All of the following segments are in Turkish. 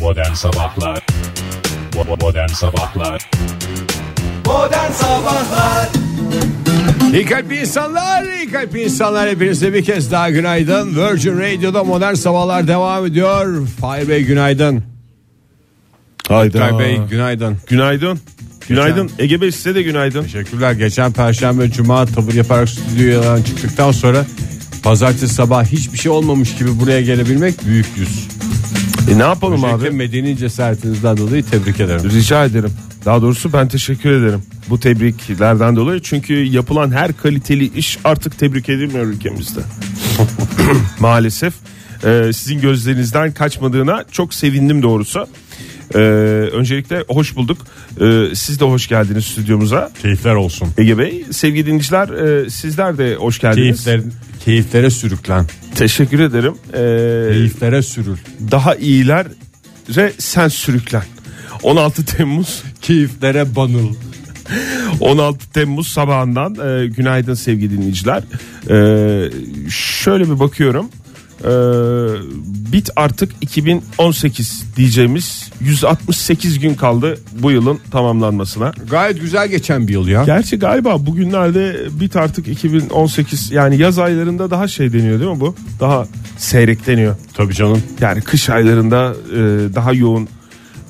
Modern Sabahlar Bo- Modern Sabahlar Modern Sabahlar İyi kalpli insanlar, iyi kalpli insanlar hepinize bir kez daha günaydın. Virgin Radio'da modern sabahlar devam ediyor. Fahir Bey günaydın. Hayda. Bey günaydın. Günaydın. Günaydın. Ege Bey size de günaydın. Teşekkürler. Geçen perşembe cuma tavır yaparak stüdyodan çıktıktan sonra pazartesi sabah hiçbir şey olmamış gibi buraya gelebilmek büyük yüz. şey- E, ne yapalım Özellikle abi? medeni cesaretinizden dolayı tebrik ederim. Rica ederim. Daha doğrusu ben teşekkür ederim. Bu tebriklerden dolayı çünkü yapılan her kaliteli iş artık tebrik edilmiyor ülkemizde. Maalesef e, sizin gözlerinizden kaçmadığına çok sevindim doğrusu. E, öncelikle hoş bulduk. E, siz de hoş geldiniz stüdyomuza. Keyifler olsun. Ege Bey, sevgili dinleyiciler e, sizler de hoş geldiniz. Keyifler, keyiflere sürüklen. Teşekkür ederim. E, Keyiflere sürül. daha iyilere sen sürüklen. 16 Temmuz Keyiflere banıl. 16 Temmuz sabahından e, günaydın sevgili dinleyiciler. E, şöyle bir bakıyorum. E, bit artık 2018 diyeceğimiz 168 gün kaldı bu yılın tamamlanmasına. Gayet güzel geçen bir yıl ya. Gerçi galiba bugünlerde bit artık 2018 yani yaz aylarında daha şey deniyor değil mi bu? Daha seyrek deniyor. Tabii canım. Yani kış aylarında e, daha yoğun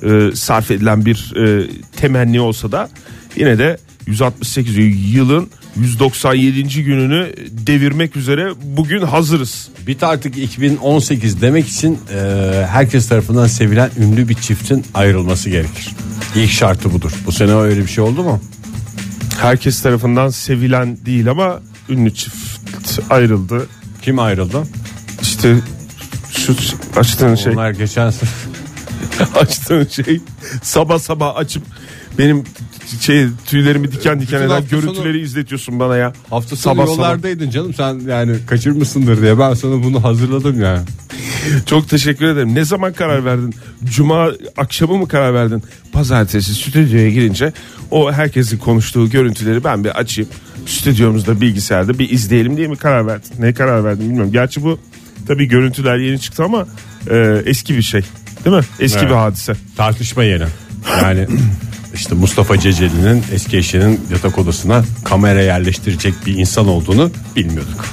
e, sarf edilen bir e, temenni olsa da yine de 168 yılın 197. gününü devirmek üzere bugün hazırız. Bit artık 2018 demek için e, herkes tarafından sevilen ünlü bir çiftin ayrılması gerekir. İlk şartı budur. Bu sene öyle bir şey oldu mu? Herkes tarafından sevilen değil ama ünlü çift ayrıldı. Kim ayrıldı? İşte şu açtığın şey Onlar geçen sene açtığın şey sabah sabah açıp benim şey tüylerimi diken diken Bütün eden hafta sonu- görüntüleri izletiyorsun bana ya. hafta sonu Sabah sabah. yollardaydın canım sen yani kaçırmışsındır diye ben sana bunu hazırladım yani. Çok teşekkür ederim. Ne zaman karar verdin? Cuma akşamı mı karar verdin? Pazartesi stüdyoya girince o herkesin konuştuğu görüntüleri ben bir açayım. Stüdyomuzda bilgisayarda bir izleyelim diye mi karar verdin? Ne karar verdin bilmiyorum. Gerçi bu tabii görüntüler yeni çıktı ama e, eski bir şey. Değil mi? Eski Evet. bir hadise. Tartışma yeri. Yani işte Mustafa Ceceli'nin eski eşinin yatak odasına kamera yerleştirecek bir insan olduğunu bilmiyorduk.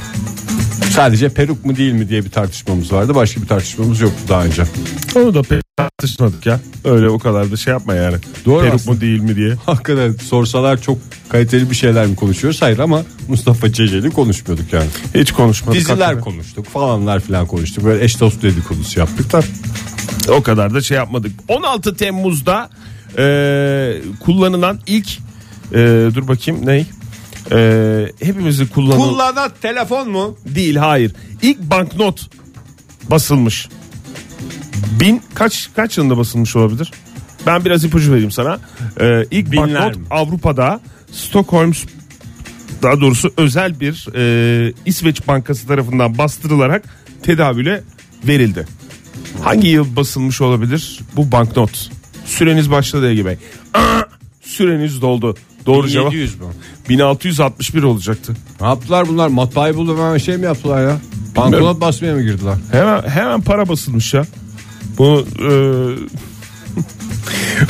Sadece peruk mu değil mi diye bir tartışmamız vardı. Başka bir tartışmamız yoktu daha önce. Onu da pek tartışmadık ya. Öyle o kadar da şey yapma yani. Doğru Peruk aslında. mu değil mi diye. Hakikaten sorsalar çok kaliteli bir şeyler mi konuşuyoruz? Hayır ama Mustafa Ceceli konuşmuyorduk yani. Hiç konuşmadık. hakikaten. Diziler konuştuk falanlar filan konuştuk. Böyle eş dost dedikodusu yaptık da. O kadar da şey yapmadık. 16 Temmuz'da e, kullanılan ilk e, dur bakayım ney? E, hepimizi kullanan Kullanan telefon mu? değil hayır. İlk banknot basılmış. Bin kaç kaç yılında basılmış olabilir? Ben biraz ipucu vereyim sana. E, ilk Binler banknot mi? Avrupa'da Stockholm daha doğrusu özel bir e, İsveç bankası tarafından bastırılarak tedavüle verildi. Hangi yıl basılmış olabilir bu banknot? Süreniz başladı Ege Bey. Aa, süreniz doldu. Doğru cevap 700 mü? 1661 olacaktı. Ne yaptılar bunlar? Matbaayı bulamayan şey mi yaptılar ya? Bankonot basmaya mı girdiler? Hemen hemen para basılmış ya. Bu e,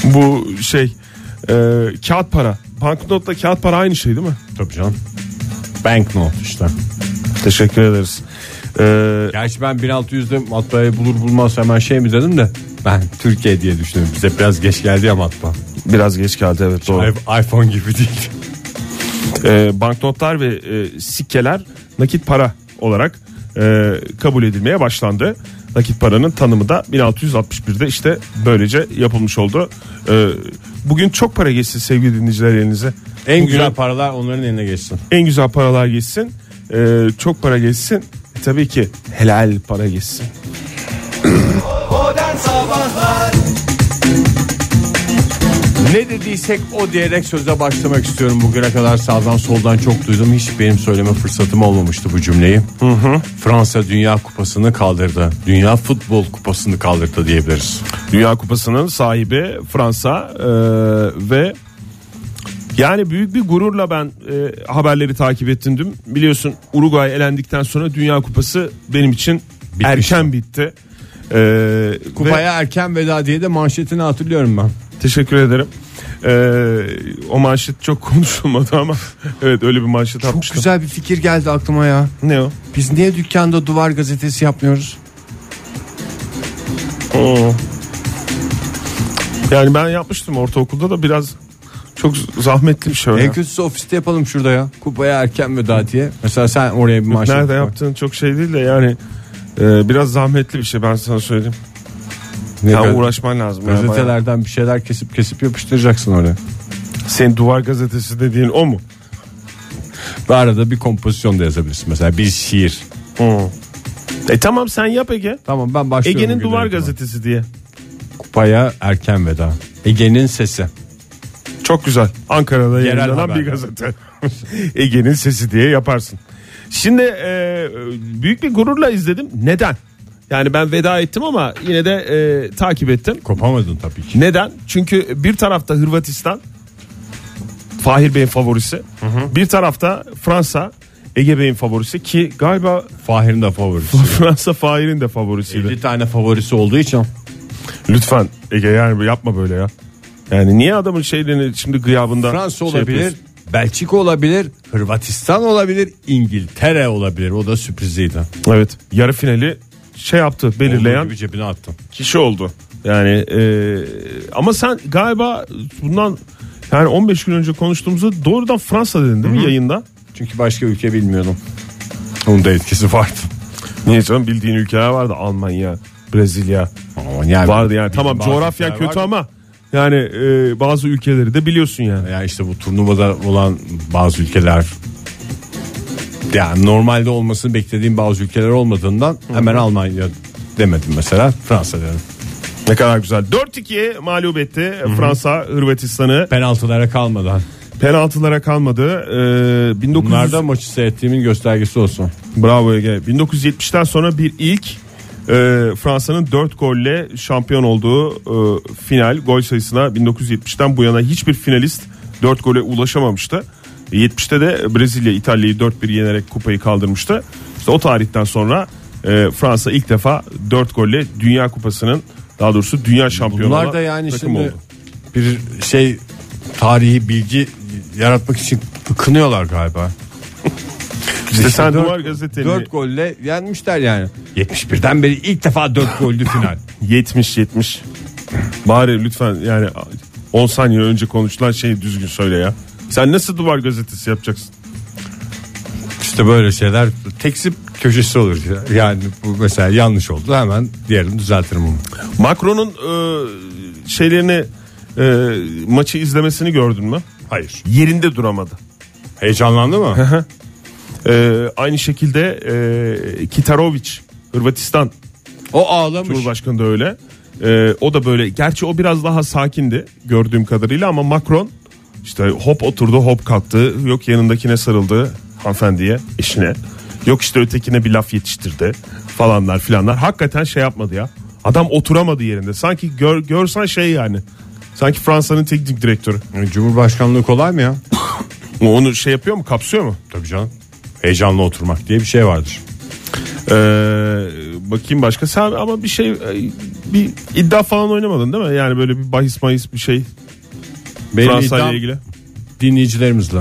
bu şey e, kağıt para. Banknotla kağıt para aynı şey değil mi? Tabii canım. Banknot işte. Teşekkür ederiz. E, Gerçi ben 1600'de matbaayı bulur bulmaz hemen şey mi dedim de ben Türkiye diye düşünüyorum. Bize biraz geç geldi ya matbaa. biraz geç geldi evet doğru. I- iPhone gibi değil. E, banknotlar ve e, sikkeler nakit para olarak e, kabul edilmeye başlandı. Nakit paranın tanımı da 1661'de işte böylece yapılmış oldu. E, bugün çok para geçsin sevgili dinleyiciler elinize. En Bugün güzel paralar onların eline geçsin. en güzel paralar geçsin. E, çok para geçsin. E, tabii ki helal para geçsin. Modern Sabahlar Ne dediysek o diyerek söze başlamak istiyorum. Bugüne kadar sağdan soldan çok duydum. Hiç benim söyleme fırsatım olmamıştı bu cümleyi. Fransa Dünya Kupası'nı kaldırdı. Dünya Futbol Kupası'nı kaldırdı diyebiliriz. Dünya Kupası'nın sahibi Fransa e, ve yani büyük bir gururla ben e, haberleri takip ettim dün. Biliyorsun Uruguay elendikten sonra Dünya Kupası benim için erken bitti. Ee, ve- Kupaya erken veda diye de manşetini hatırlıyorum ben. Teşekkür ederim. Ee, o manşet çok konuşulmadı ama evet öyle bir manşet Çok atmıştım. güzel bir fikir geldi aklıma ya. Ne o? Biz niye dükkanda duvar gazetesi yapmıyoruz? Oo. Hmm. Yani ben yapmıştım ortaokulda da biraz çok zahmetli bir şey. o ya. En kötüsü ofiste yapalım şurada ya. Kupaya erken veda diye. Mesela sen oraya bir manşet. Nerede koy. yaptığın çok şey değil de yani e, biraz zahmetli bir şey ben sana söyleyeyim. Ne Ya gaz- uğraşman lazım. ya bayağı. Gazetelerden bir şeyler kesip kesip yapıştıracaksın oraya. Senin duvar gazetesi dediğin o mu? Ve arada bir kompozisyon da yazabilirsin. Mesela bir şiir. Hı. Hmm. E tamam sen yap Ege. Tamam ben başlıyorum. Ege'nin güne duvar yapıma. gazetesi diye. Kupaya erken veda. Ege'nin sesi. Çok güzel. Ankara'da Yerel yayınlanan haber. bir gazete. Ege'nin sesi diye yaparsın. Şimdi e, büyük bir gururla izledim. Neden? Yani ben veda ettim ama yine de e, takip ettim. Kopamadın tabii ki. Neden? Çünkü bir tarafta Hırvatistan Fahir Bey'in favorisi. Bir tarafta Fransa Ege Bey'in favorisi ki galiba Fahir'in de favorisi. Fransa Fahir'in de favorisiydi. 50 tane favorisi olduğu için. Lütfen Ege yani yapma böyle ya. Yani niye adamın şeylerini şimdi gıyabında Fransa şey olabilir, yapıyorsun? Belçika olabilir, Hırvatistan olabilir, İngiltere olabilir. O da sürpriziydi. evet. Yarı finali şey yaptı belirleyen Olduğu gibi cebine attım. kişi oldu. Yani e, ama sen galiba bundan yani 15 gün önce konuştuğumuzda doğrudan Fransa dedin değil mi yayında? Çünkü başka ülke bilmiyordum. Onun da etkisi vardı. Niye canım bildiğin ülkeler vardı Almanya, Brezilya Aman yani vardı yani. Tamam bazı coğrafya ülkeler kötü vardı. ama yani e, bazı ülkeleri de biliyorsun yani. Ya işte bu turnuvada olan bazı ülkeler yani normalde olmasını beklediğim bazı ülkeler olmadığından hemen Almanya demedim mesela Fransa dedim. Ne kadar güzel. 4-2 mağlup etti Fransa Hırvatistan'ı. Penaltılara kalmadan. Penaltılara kalmadı. E, 1900... Bunlar da maçı seyrettiğimin göstergesi olsun. Bravo Ege. 1970'ten sonra bir ilk e, Fransa'nın 4 golle şampiyon olduğu e, final gol sayısına 1970'ten bu yana hiçbir finalist 4 gole ulaşamamıştı. 70'te de Brezilya İtalya'yı 4-1 yenerek kupayı kaldırmıştı. İşte o tarihten sonra e, Fransa ilk defa 4 golle Dünya Kupası'nın daha doğrusu Dünya Şampiyonu Bunlar da yani şimdi bir şey tarihi bilgi yaratmak için ıkınıyorlar galiba. İşte sen dört- Duvar Gazeteni 4 golle yenmişler yani. 71'den beri ilk defa 4 gollü final. 70-70 bari lütfen yani 10 saniye önce konuşulan şeyi düzgün söyle ya. Sen nasıl duvar gazetesi yapacaksın? İşte böyle şeyler teksip köşesi olur. Yani bu mesela yanlış oldu hemen diyelim düzeltirim onu. Macron'un e, şeylerini e, maçı izlemesini gördün mü? Hayır. Yerinde duramadı. Heyecanlandı mı? E, aynı şekilde e, Kitarovic Hırvatistan o ağlamış. Cumhurbaşkanı da öyle. E, o da böyle gerçi o biraz daha sakindi gördüğüm kadarıyla ama Macron işte hop oturdu hop kalktı yok yanındakine sarıldı hanımefendiye eşine yok işte ötekine bir laf yetiştirdi falanlar filanlar hakikaten şey yapmadı ya adam oturamadı yerinde sanki gör, görsen şey yani sanki Fransa'nın teknik direktörü Cumhurbaşkanlığı kolay mı ya? onu şey yapıyor mu kapsıyor mu Tabii canım. Heyecanlı oturmak diye bir şey vardır. Ee, bakayım başka sen ama bir şey bir iddia falan oynamadın değil mi yani böyle bir bahis mahis bir şey Benim Fransa ile iddiam ilgili dinleyicilerimizle.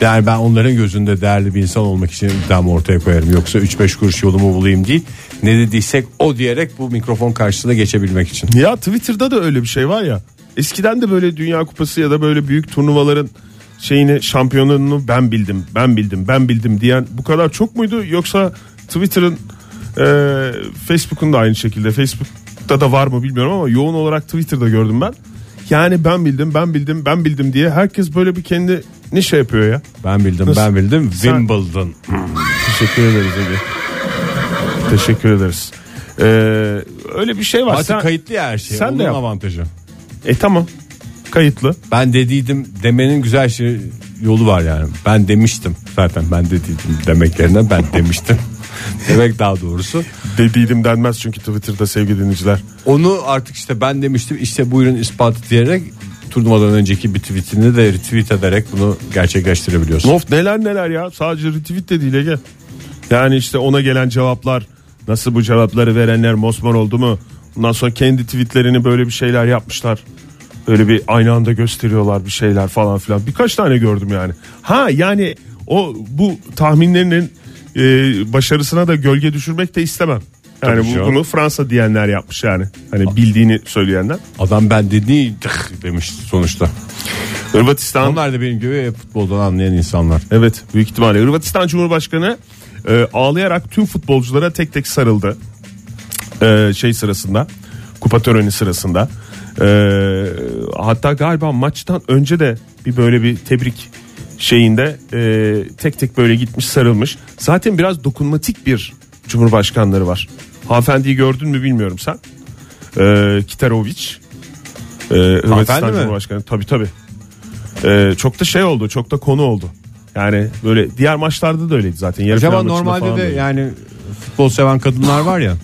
Yani ben onların gözünde değerli bir insan olmak için iddiamı ortaya koyarım. Yoksa 3-5 kuruş yolumu bulayım değil. Ne dediysek o diyerek bu mikrofon karşısına geçebilmek için. Ya Twitter'da da öyle bir şey var ya. Eskiden de böyle Dünya Kupası ya da böyle büyük turnuvaların şeyini şampiyonunu ben bildim, ben bildim, ben bildim diyen bu kadar çok muydu? Yoksa Twitter'ın e, Facebook'un da aynı şekilde Facebook'ta da var mı bilmiyorum ama yoğun olarak Twitter'da gördüm ben. Yani ben bildim, ben bildim, ben bildim diye herkes böyle bir kendi ne şey yapıyor ya. Ben bildim Nasıl? ben bildim. Sen- Wimbledon. Teşekkür ederiz Ege. Teşekkür ederiz. Ee, öyle bir şey var. Artık Sen- kayıtlı ya her şey. sen de Onun yap. avantajı. E tamam. Kayıtlı. Ben dediydim demenin güzel şey yolu var yani. Ben demiştim zaten ben dediydim demek yerine ben demiştim. demek daha doğrusu. Dediydim denmez çünkü Twitter'da sevgili dinleyiciler. Onu artık işte ben demiştim işte buyurun ispatı diyerek turnuvadan önceki bir tweetini de retweet ederek bunu gerçekleştirebiliyorsun. Of neler neler ya sadece retweet de değil Ege. Yani işte ona gelen cevaplar Nasıl bu cevapları verenler mosmor oldu mu? Ondan sonra kendi tweetlerini böyle bir şeyler yapmışlar. Böyle bir aynı anda gösteriyorlar bir şeyler falan filan. Birkaç tane gördüm yani. Ha yani o bu tahminlerinin e, başarısına da gölge düşürmek de istemem. Yani Tabii bu- canım. bunu Fransa diyenler yapmış yani. Hani bildiğini söyleyenler. Adam ben dedi tık demiş sonuçta. Hırvatistan Onlar da benim gibi e, futboldan anlayan insanlar. Evet büyük ihtimalle. Hırvatistan Cumhurbaşkanı e, ağlayarak tüm futbolculara tek tek sarıldı. E, şey sırasında kupa töreni sırasında. E, hatta galiba maçtan önce de bir böyle bir tebrik şeyinde e, tek tek böyle gitmiş sarılmış. Zaten biraz dokunmatik bir cumhurbaşkanları var. Hanımefendiyi gördün mü bilmiyorum sen. E, Kitaroviç. E, Hırvatistan mi? Cumhurbaşkanı. Tabii tabii. Ee, çok da şey oldu çok da konu oldu. Yani böyle diğer maçlarda da öyleydi zaten. Yarı Acaba final maçında normalde falan de da öyle. yani futbol seven kadınlar var ya.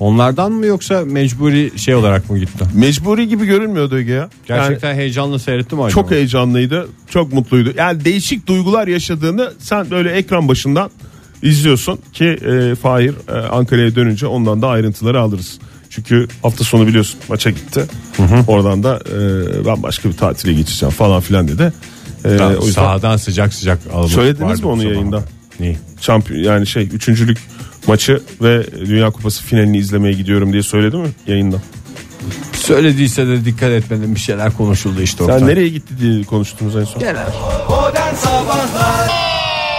Onlardan mı yoksa mecburi şey olarak mı gitti? mecburi gibi görünmüyordu Ege ya. Yani Gerçekten heyecanla seyrettim acaba. çok e- heyecanlıydı, çok mutluydu. Yani değişik duygular yaşadığını sen böyle ekran başından izliyorsun ki e, Fahir e, Ankara'ya dönünce ondan da ayrıntıları alırız. Çünkü hafta sonu biliyorsun maça gitti. Oradan da e, ben başka bir tatile geçeceğim falan filan dedi. E, Daha o yüzden Sahadan sıcak sıcak alınıp Söylediniz vardı mi onu bu sabah. yayında? Neyi? şampiyon yani şey üçüncülük maçı ve Dünya Kupası finalini izlemeye gidiyorum diye söyledi mi yayında? Söylediyse de dikkat etmedim bir şeyler konuşuldu işte Sen orada. nereye gitti diye konuştunuz en son. Modern Sabahlar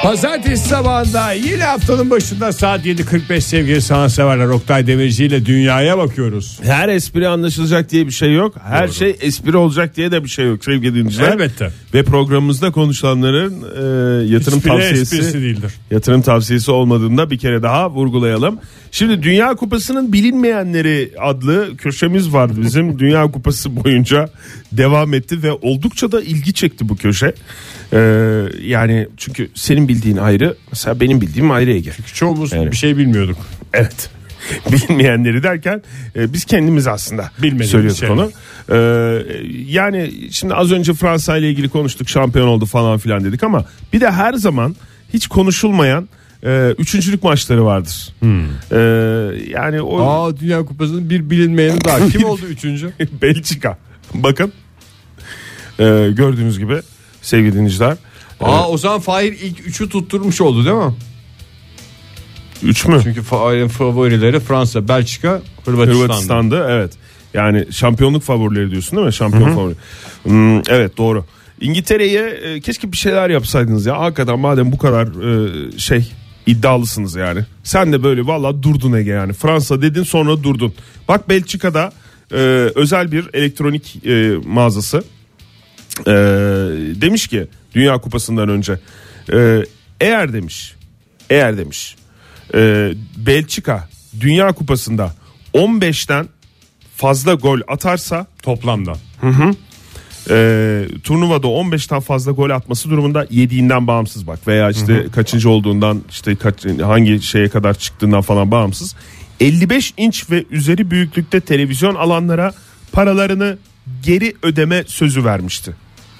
Pazartesi sabahında yine haftanın başında saat 7.45 sevgili sanatseverler Oktay Demirci ile dünyaya bakıyoruz. Her espri anlaşılacak diye bir şey yok. Her şey espri olacak diye de bir şey yok sevgili dinleyiciler. Elbette. Ve programımızda konuşulanların e, yatırım Espri tavsiyesi esprisi değildir. yatırım tavsiyesi olmadığında bir kere daha vurgulayalım. Şimdi Dünya Kupası'nın bilinmeyenleri adlı köşemiz vardı bizim. Dünya Kupası boyunca devam etti ve oldukça da ilgi çekti bu köşe. E, yani çünkü senin bildiğin ayrı, mesela benim bildiğim ayrı Ege. Çoğumuz bir şey bilmiyorduk. Evet. Bilmeyenleri derken e, biz kendimiz aslında Bilmediğimiz şey. söylüyorduk şeyler. onu. E, yani şimdi az önce Fransa ile ilgili konuştuk şampiyon oldu falan filan dedik ama bir de her zaman hiç konuşulmayan e, üçüncülük maçları vardır. E, yani o Hmm. Aa Dünya Kupası'nın bir bilinmeyeni daha. Kim oldu üçüncü? Belçika. Bakın E, gördüğünüz gibi sevgili dinleyiciler. e, Aa o zaman Fahir ilk üçü tutturmuş oldu değil mi? Üç mü? Çünkü Fahir'in favorileri Fransa, Belçika, Hırvatistan'dı. Hırvatistan'da evet. Yani şampiyonluk favorileri diyorsun değil mi? Şampiyon favori. Hmm, evet doğru. İngiltere'ye e, keşke bir şeyler yapsaydınız ya. Hakikaten madem bu kadar e, şey iddialısınız yani. Sen de böyle valla durdun Ege yani. Fransa dedin sonra durdun. Bak Belçika'da e, özel bir elektronik e, mağazası e, demiş ki Dünya Kupası'ndan önce e, eğer demiş eğer demiş e, Belçika Dünya Kupası'nda 15'ten fazla gol atarsa Toplamda. e, turnuvada 15'ten fazla gol atması durumunda yediğinden bağımsız bak veya işte kaçıncı olduğundan işte kaç, hangi şeye kadar çıktığından falan bağımsız 55 inç ve üzeri büyüklükte televizyon alanlara paralarını geri ödeme sözü vermişti.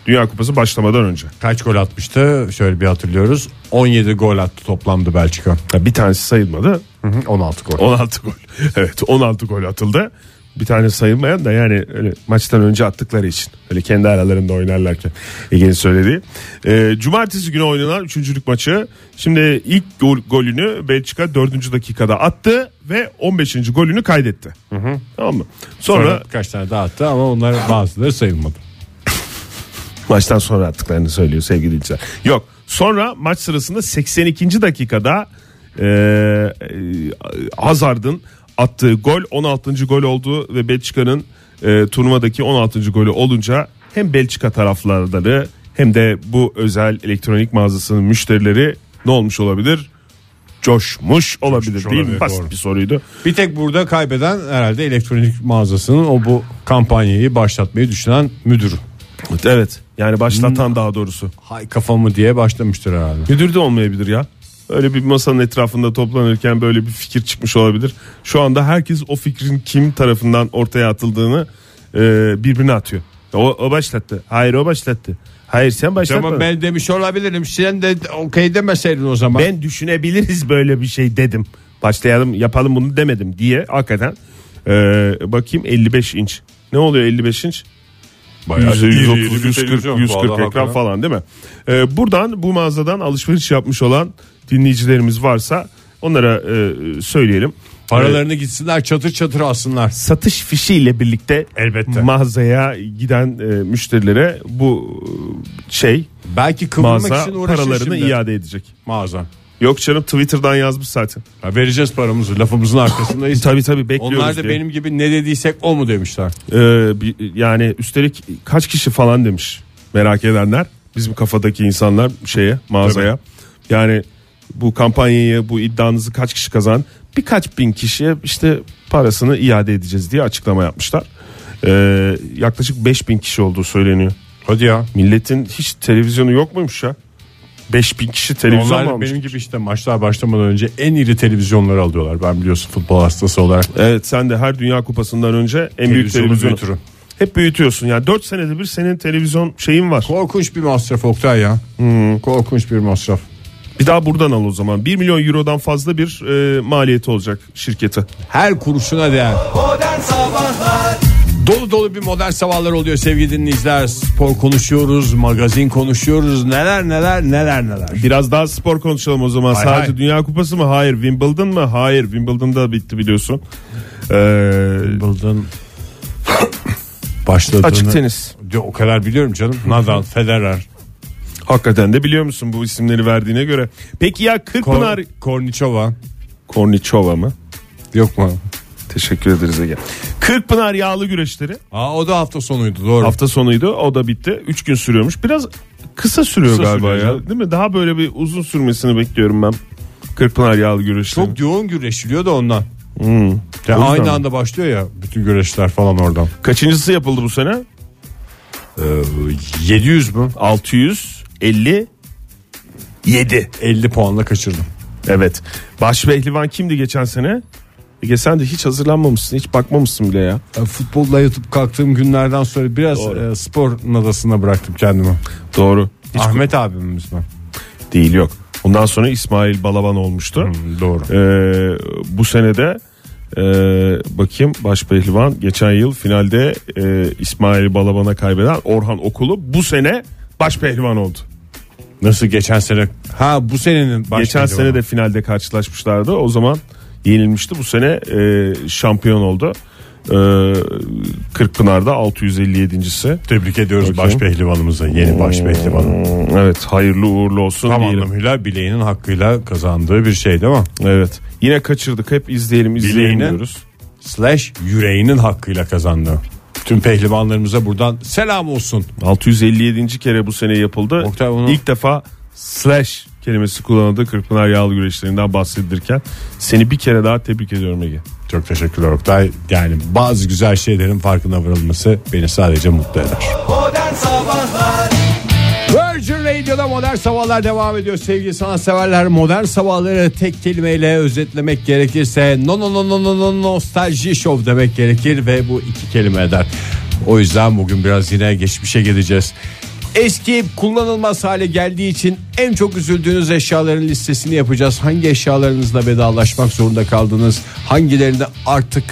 Dünya Kupası başlamadan önce. Kaç gol atmıştı? Şöyle bir hatırlıyoruz. 17 gol attı toplamda Belçika. Ya bir tanesi sayılmadı. Hı hı, 16 gol. 16 gol. Evet 16 gol atıldı. Bir tane sayılmayan da yani öyle maçtan önce attıkları için. Öyle kendi aralarında oynarlarken. Ege'nin söylediği. Ee, cumartesi günü oynanan üçüncülük maçı. Şimdi ilk gol, golünü Belçika 4. dakikada attı ve 15. golünü kaydetti. Tamam mı? Sonra, Sonra birkaç tane daha attı ama onlar bazıları sayılmadı. maçtan sonra attıklarını söylüyor sevgili dinleyiciler. Yok sonra maç sırasında 82. dakikada e, e, Hazard'ın attığı gol 16. gol oldu ve Belçika'nın e, turnuvadaki 16. golü olunca hem Belçika taraflarları hem de bu özel elektronik mağazasının müşterileri ne olmuş olabilir? Coşmuş olabilir değil mi? olabilir, Basit doğru. bir soruydu. Bir tek burada kaybeden herhalde elektronik mağazasının o bu kampanyayı başlatmayı düşünen müdürü. Evet yani başlatan Hmm. daha doğrusu. Hay kafamı diye başlamıştır herhalde. Müdür de olmayabilir ya. Öyle bir masanın etrafında toplanırken böyle bir fikir çıkmış olabilir. Şu anda herkes o fikrin kim tarafından ortaya atıldığını e, birbirine atıyor. O, o başlattı. Hayır o başlattı. Hayır sen başlatmadın. Tamam ben... ben demiş olabilirim. Sen de okey demeseydin o zaman. düşünebiliriz böyle bir şey dedim. başlayalım yapalım bunu demedim diye hakikaten e, bakayım 55 inç. Ne oluyor 55 inç? Bayağı Yüzde iri iri 130, bir 140, televizyon. 140 Vallahi ekran hakikaten. falan değil mi? Ee, buradan bu mağazadan alışveriş yapmış olan dinleyicilerimiz varsa onlara e, söyleyelim. Ee, Paralarını gitsinler çatır çatır alsınlar. satış fişiyle birlikte Elbette. mağazaya giden e, müşterilere bu e, şey Belki kıvırmak mağaza için uğraşır paralarını şimdi. iade edecek. Mağaza. Yok canım Twitter'dan yazmış zaten. Ya vereceğiz paramızı lafımızın arkasındayız. Tabii tabii bekliyoruz Onlar da diye. benim gibi ne dediysek o mu demişler. Ee, bir- yani üstelik kaç kişi falan demiş merak edenler bizim kafadaki insanlar şeye mağazaya yani bu kampanyayı bu iddianızı kaç kişi kazan birkaç bin kişiye işte parasını iade edeceğiz diye açıklama yapmışlar Ee, yaklaşık 5000 kişi olduğu söyleniyor Hadi ya. milletin hiç televizyonu yok muymuş ya 5000 kişi televizyon Onlar mu da almış? benim gibi işte maçlar başlamadan önce en iri televizyonları alıyorlar. Ben biliyorsun futbol hastası olarak. Evet sen de her Dünya Kupası'ndan önce en büyük Televizyonu televizyonu büyütürüm. hep büyütüyorsun ya 4 senede bir senin televizyon şeyin var. Korkunç bir masraf Oktay ya. Hmm, Korkunç bir masraf. Bir daha buradan al o zaman. 1 milyon eurodan fazla bir e, maliyeti olacak şirkete. Her kuruşuna değer. Modern Sabahlar Dolu dolu bir modern sabahlar oluyor sevgili dinleyiciler. Spor konuşuyoruz, magazin konuşuyoruz. Neler neler neler neler. Biraz daha spor konuşalım o zaman. Hay Sadece hay. Dünya Kupası mı? Hayır. Wimbledon mı? Hayır. Wimbledon'da bitti biliyorsun. Ee, Buldun. Başladığını. açık tenis. De, o kadar biliyorum canım. Nadal, Federer, Hakikaten de biliyor musun bu isimleri verdiğine göre. Peki ya Kırkpınar... Kor- Korniçova. Korniçova mı? Yok mu? Teşekkür ederiz Ege. Kırkpınar yağlı güreşleri Aa, o da hafta sonuydu doğru. hafta sonuydu. O da bitti. 3 gün sürüyormuş. Biraz kısa sürüyor Kısa galiba sürüyor ya. canım. Değil mi? Daha böyle bir uzun sürmesini bekliyorum ben. Kırkpınar yağlı güreşleri. Çok yoğun güreşiliyor da ondan. Ya O yüzden aynı mi? anda başlıyor ya bütün güreşler falan oradan. Kaçıncısı yapıldı bu sene? 700 Ee, mü? 650 7. 50 puanla kaçırdım. Evet. Baş pehlivan kimdi geçen sene? Ege sen de hiç hazırlanmamışsın, hiç bakmamışsın bile ya. Futbolla yatıp kalktığım günlerden sonra biraz Doğru. e, spor nadasına bıraktım kendimi. Doğru. Ahmet abimiz mi? Ah. Değil yok. Ondan sonra İsmail Balaban Hmm. olmuştu. doğru. Ee, bu senede e, bakayım baş pehlivan geçen yıl finalde e, İsmail Balaban'a kaybeden Orhan Okulu bu sene baş pehlivan oldu. Nasıl geçen sene? Ha bu senenin baş Geçen pehlivanı. sene de finalde karşılaşmışlardı. O zaman yenilmişti. Bu sene e, şampiyon oldu. E, Kırkpınar'da 657.si. tebrik ediyoruz baş Bakayım. pehlivanımıza. Yeni baş pehlivanı. Hmm, Evet, hayırlı uğurlu olsun Tam diyelim. anlamıyla bileğinin hakkıyla kazandığı bir şey değil mi? Evet. Yine kaçırdık. Hep izleyelim, izleyelim Bileğini. diyoruz. Slash yüreğinin hakkıyla kazandığı. Tüm pehlivanlarımıza buradan selam olsun. 657. kere bu sene yapıldı. Oktay onu- İlk defa slash kelimesi kullanıldı Kırkpınar yağlı güreşlerinden bahsedilirken. Seni bir kere daha tebrik ediyorum Ege. Çok teşekkürler Oktay. Yani bazı güzel şeylerin farkına varılması beni sadece mutlu eder. Modern Sabahlar Virgin Radio'da modern sabahlar devam ediyor sevgili sanatseverler. Modern sabahları tek kelimeyle özetlemek gerekirse no no no no no no nostalji show demek gerekir ve bu iki kelime eder. O yüzden bugün biraz yine geçmişe gideceğiz. Eski kullanılmaz hale geldiği için en çok üzüldüğünüz eşyaların listesini yapacağız. Hangi eşyalarınızla vedalaşmak zorunda kaldınız? Hangilerini artık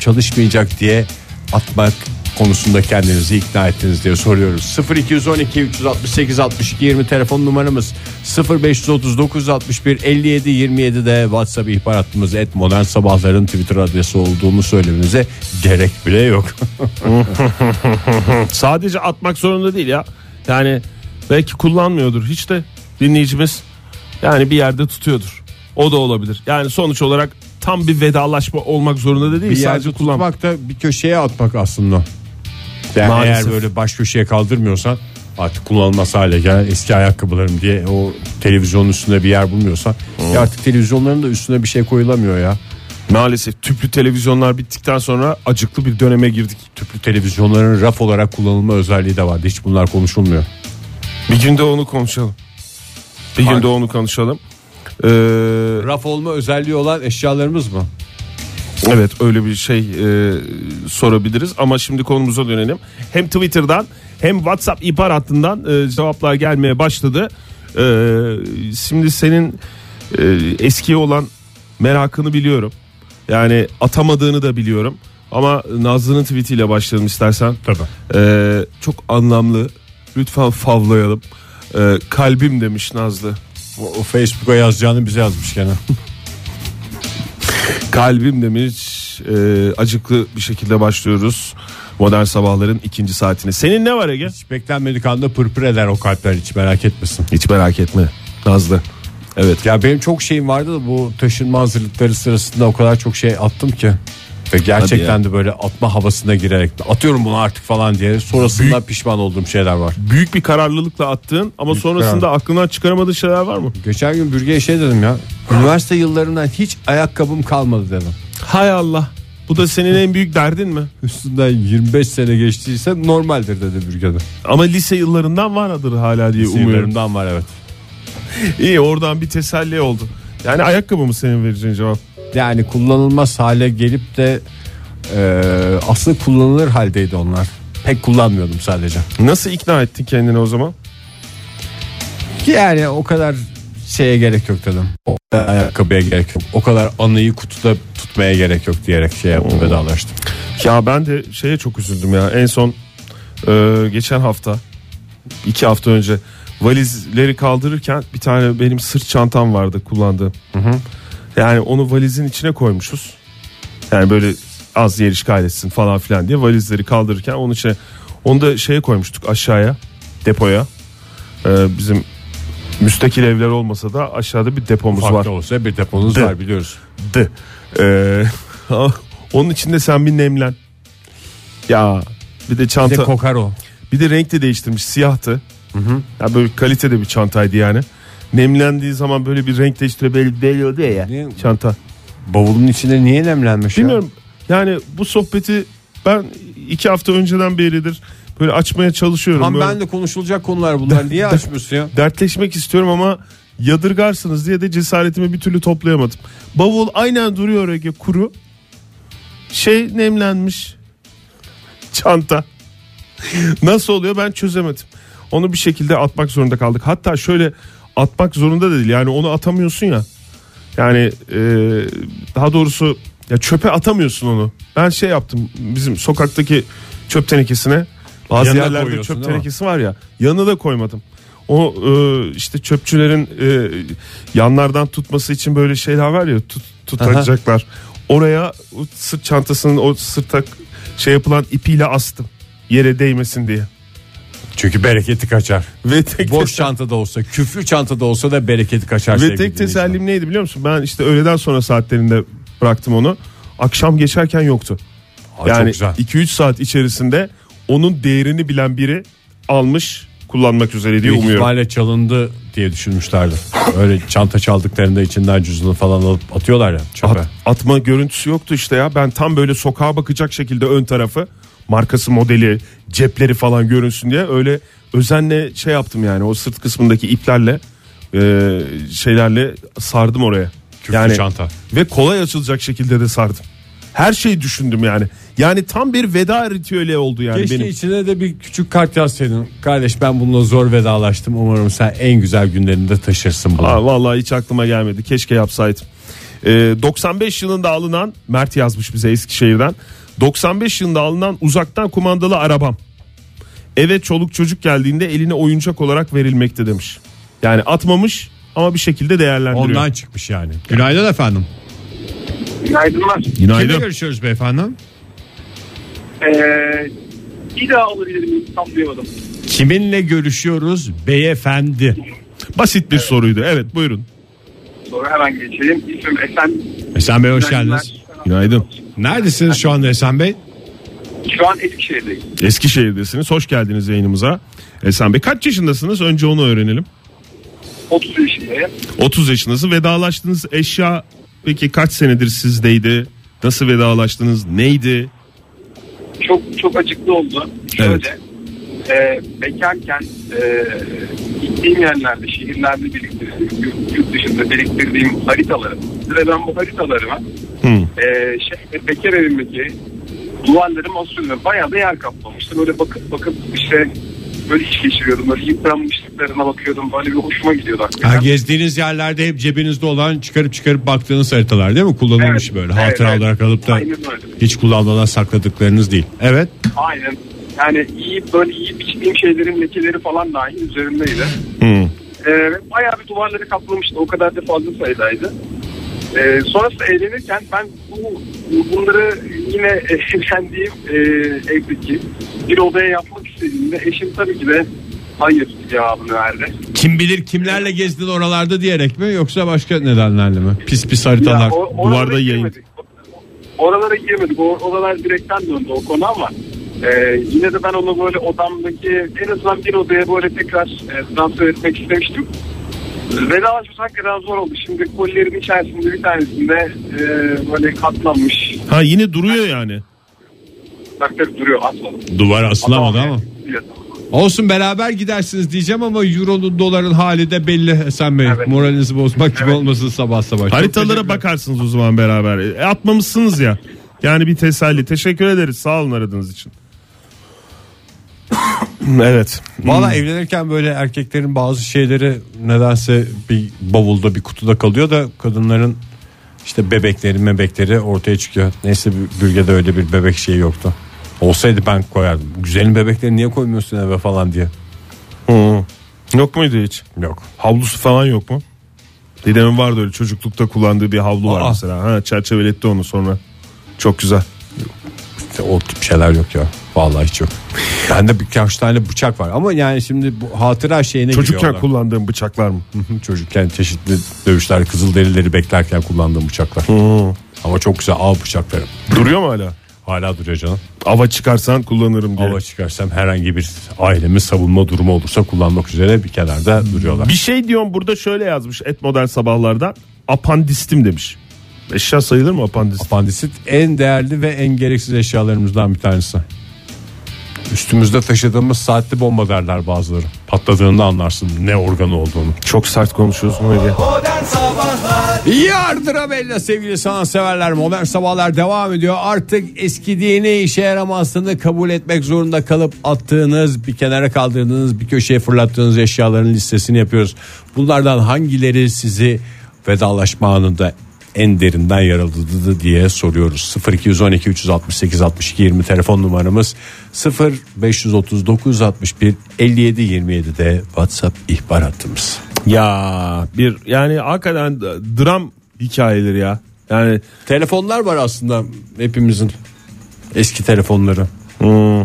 çalışmayacak diye atmak konusunda kendinizi ikna ettiniz diye soruyoruz. 0212 368 62 20 telefon numaramız 0539 61 57 27 de WhatsApp ihbar hattımız et modern sabahların Twitter adresi olduğunu söylemenize gerek bile yok. Sadece atmak zorunda değil ya. Yani belki kullanmıyordur hiç de dinleyicimiz yani bir yerde tutuyordur. O da olabilir. Yani sonuç olarak tam bir vedalaşma olmak zorunda da değil. bir sadece yerde kullan. tutmak da bir köşeye atmak aslında. Yani Maalesef. eğer böyle baş köşeye kaldırmıyorsan artık kullanılmaz hale gelen eski ayakkabılarım diye o televizyonun üstünde bir yer bulmuyorsan ya artık televizyonların da üstüne bir şey koyulamıyor ya. Maalesef tüplü televizyonlar bittikten sonra acıklı bir döneme girdik. tüplü televizyonların raf olarak kullanılma özelliği de vardı. Hiç bunlar konuşulmuyor. Bir günde onu konuşalım. Bir Hangi- günde onu konuşalım. Ee, Raf olma özelliği olan eşyalarımız mı? evet öyle bir şey e, sorabiliriz ama şimdi konumuza dönelim. Hem Twitter'dan hem WhatsApp ihbar hattından e, cevaplar gelmeye başladı. Ee, şimdi senin e, eskiye olan merakını biliyorum. Yani atamadığını da biliyorum. Ama Nazlı'nın tweetiyle başlayalım istersen. Tabii. Ee, çok anlamlı. Lütfen favlayalım. Ee, kalbim demiş Nazlı. O, o Facebook'a yazacağını bize yazmış gene. Kalbim demiş. Ee, acıklı bir şekilde başlıyoruz. Modern sabahların ikinci saatine. Senin ne var Ege? Hiç beklenmedik anda pırpır eder o kalpler hiç merak etmesin. Hiç merak etme Nazlı. Evet. Ya benim çok şeyim vardı da bu taşınma hazırlıkları sırasında o kadar çok şey attım ki. Ve gerçekten Hadi de böyle atma havasına girerek atıyorum bunu artık falan diye sonrasında pişman olduğum şeyler var. Büyük bir kararlılıkla attığın ama sonrasında aklından çıkaramadığın şeyler var mı? Geçen gün bürgeye şey dedim ya. Üniversite yıllarından hiç ayakkabım kalmadı dedim. Hay Allah. Bu da senin en büyük derdin mi? Üstünden 25 sene geçtiyse normaldir dedi bürgede. Ama lise yıllarından vardır hala diye umuyorum. Sinirlerimden var evet. İyi oradan bir teselli oldu. Yani ayakkabı mı senin vereceğin cevap? Yani kullanılmaz hale gelip de e, aslında kullanılır haldeydi onlar. Pek kullanmıyordum sadece. Nasıl ikna ettin kendini o zaman? Yani o kadar şeye gerek yok dedim. O kadar ayakkabıya gerek yok. O kadar anıyı kutuda tutmaya gerek yok diyerek şey yaptım vedalaştım. Ya ben de şeye çok üzüldüm ya. En son e, geçen hafta iki hafta önce valizleri kaldırırken bir tane benim sırt çantam vardı kullandığım. Yani onu valizin içine koymuşuz. Yani böyle az yer işgal etsin falan filan diye valizleri kaldırırken onun içine onu da şeye koymuştuk aşağıya depoya. E, bizim müstakil evler olmasa da aşağıda bir depomuz var. Farklı olsa bir deponuz De. var biliyoruz. D. Ee, onun içinde sen bir nemlen. Ya bir de Bir de çanta. Bir de, kokar o. renk de değiştirmiş. Siyahtı. Ya böyle kalitede bir çantaydı yani. Nemlendiği zaman böyle bir renk değiştiriyor. Belli, belli oluyor ya. Ne- Çanta. Bavulun içinde niye nemlenmiş ya? Bilmiyorum. Yani bu sohbeti ben iki hafta önceden beridir böyle açmaya çalışıyorum. Tam Böyle ben de konuşulacak konular bunlar. Niye açmıyorsun ya? Dertleşmek istiyorum ama yadırgarsınız diye de cesaretimi bir türlü toplayamadım. Bavul aynen duruyor Ege kuru. Şey nemlenmiş. Çanta. Nasıl oluyor ben çözemedim. Onu bir şekilde atmak zorunda kaldık. Hatta şöyle atmak zorunda da değil. Yani onu atamıyorsun ya. Yani e, daha doğrusu ya çöpe atamıyorsun onu. Ben şey yaptım bizim sokaktaki çöp tenekesine bazı Yanına yerlerde koyuyorsun çöp değil mi? tenekesi var ya yanına da koymadım. O e, işte çöpçülerin e, yanlardan tutması için böyle şeyler var ya tut, tutacaklar. Oraya o sırt çantasının o sırtak şey yapılan ipiyle astım yere değmesin diye. Çünkü bereketi kaçar. Ve tek Boş çantada olsa, küflü çantada olsa da bereketi kaçar. Ve sevgili tek dinleyiciler. tesellim neydi biliyor musun? Ben işte öğleden sonra saatlerinde bıraktım onu. Akşam geçerken yoktu. Aa, çok yani güzel. 2-3 saat içerisinde onun değerini bilen biri almış kullanmak üzere diye Büyük umuyorum. ihtimalle çalındı diye düşünmüşlerdi. Öyle çanta çaldıklarında içinden cüzdanı falan alıp atıyorlar ya çöpe. At- atma görüntüsü yoktu işte ya. Ben tam böyle sokağa bakacak şekilde ön tarafı markası modeli cepleri falan görünsün diye öyle özenle şey yaptım yani o sırt kısmındaki iplerle e, şeylerle sardım oraya. Küflü çanta. Ve kolay açılacak şekilde de sardım. Her şeyi düşündüm yani. Yani tam bir veda ritüeli oldu yani Keşke benim. içine de bir küçük kart yazsaydın. Kardeş ben bununla zor vedalaştım. Umarım sen en güzel günlerinde taşırsın bunu. Aa, vallahi hiç aklıma gelmedi. Keşke yapsaydım. Ee, 95 yılında alınan Mert yazmış bize Eskişehir'den. 95 yılında alınan uzaktan kumandalı arabam. Eve çoluk çocuk geldiğinde eline oyuncak olarak verilmekte demiş. Yani atmamış ama bir şekilde değerlendiriyor. Ondan çıkmış yani. Günaydın efendim. Günaydınlar. Kimle Günaydın. görüşüyoruz beyefendi? Ee, bir daha olabilir miyim? Tam duyamadım. Kiminle görüşüyoruz beyefendi? Basit bir soruydu. Evet buyurun. Sonra hemen geçeyim. İsmim Esen. Esen Bey hoş Günaydınlar. geldiniz. Günaydın. Neredesiniz şu anda Esen Bey? Şu an Eskişehir'deyim. Eskişehir'desiniz. Hoş geldiniz yayınımıza. Esen Bey kaç yaşındasınız? Önce onu öğrenelim. 30 yaşındayım. 30 yaşındasın. Vedalaştığınız eşya peki kaç senedir sizdeydi? Nasıl vedalaştınız? Neydi? Çok çok acıklı oldu. Şöyle. E, bekarken e, gittiğim yerlerde, şehirlerde biriktirdiğim, yurt, yurt dışında biriktirdiğim haritaları. Ve ben bu haritalarımı e, şey, bekar evimdeki duvarlarım asıyorum. Bayağı da yer kaplamıştım. Öyle bakıp bakıp işte böyle iş geçiriyordum. Böyle yıpranmışlıklarına bakıyordum. Böyle bir hoşuma gidiyordu hakikaten. Ha, gezdiğiniz yerlerde hep cebinizde olan çıkarıp çıkarıp baktığınız haritalar değil mi? Kullanılmış Evet, şey böyle evet, hatıra evet. olarak alıp da Aynen öyle. hiç kullanmadan sakladıklarınız değil. Evet. Aynen. Yani iyi böyle iyi biçtiğim şeylerin lekeleri falan dahi üzerimdeydi. Ee, bayağı bir duvarları kaplamıştı. O kadar da fazla sayıdaydı. Ee, sonrasında eğlenirken ben bu bunları yine evlendiğim e, evdeki bir odaya yapmak istediğimde eşim tabii ki de hayır cevabını verdi. Kim bilir kimlerle gezdin oralarda diyerek mi yoksa başka nedenlerle mi? Pis pis haritalar, Ya, o- şey oralara duvarda yayın. girmedik. Oralara girmedik. O, oralar direkten döndü o konu ama e, yine de ben onu böyle odamdaki en azından bir odaya böyle tekrar e, dans etmek istemiştim. Vedalaşması hakikaten zor oldu. Şimdi kolilerin içerisinde bir tanesinde e, böyle katlanmış. Ha yine duruyor yani. Bak tabii duruyor atmadım. Duvar asılamadı ama. Evet. Olsun beraber gidersiniz diyeceğim ama euronun doların hali de belli Sen Bey. Evet. Moralinizi bozmak gibi olmasın sabah sabah. Çok Haritalara teşekkür- bakarsınız o zaman beraber. E, atmamışsınız ya. Yani bir teselli. Teşekkür ederiz. Sağ olun aradığınız için. evet. Valla evlenirken böyle erkeklerin bazı şeyleri nedense bir bavulda bir kutuda kalıyor da kadınların işte bebekleri mebekleri ortaya çıkıyor. Neyse bir bölgede öyle bir bebek şeyi yoktu. Olsaydı ben koyardım. Güzelin bebekleri niye koymuyorsun eve falan diye. Yok muydu hiç? Yok. Havlusu falan yok mu? Dedemin vardı öyle çocuklukta kullandığı bir havlu var Aa. mesela. Ha, çerçeveletti onu sonra. Çok güzel. İşte o tip şeyler yok ya. Vallahi hiç yok. Bende birkaç tane bıçak var ama yani şimdi bu hatıra şeyine Çocukken giriyorlar. kullandığım bıçaklar mı? Çocukken çeşitli dövüşler kızılderilileri beklerken kullandığım bıçaklar. Ama çok güzel av bıçakları. Duruyor mu hala? Hala duruyor canım. Ava çıkarsan kullanırım diye. Ava çıkarsam herhangi bir ailemi savunma durumu olursa kullanmak üzere bir kenarda duruyorlar. Bir şey diyorum burada şöyle yazmış et modern sabahlarda. Apandistim demiş. Eşya sayılır mı apandist? Apandisit en değerli ve en gereksiz eşyalarımızdan bir tanesi. Üstümüzde taşıdığımız saatli bomba derler bazıları. Patladığında anlarsın ne organı olduğunu. Çok sert konuşuyorsun öyle. Modern Sabahlar Yardıra bella sevgili sanatseverler modern sabahlar devam ediyor. Artık eskidiğini işe yaramazlığını kabul etmek zorunda kalıp attığınız bir kenara kaldırdığınız bir köşeye fırlattığınız eşyaların listesini yapıyoruz. Bunlardan hangileri sizi vedalaşma anında en derinden yaraladı diye soruyoruz. 0212 368 62 20 telefon numaramız 0 539 61 57 27 de WhatsApp ihbar hattımız. Ya bir yani hakikaten dram hikayeleri ya. Yani Telefonlar var aslında hepimizin eski telefonları. hmm,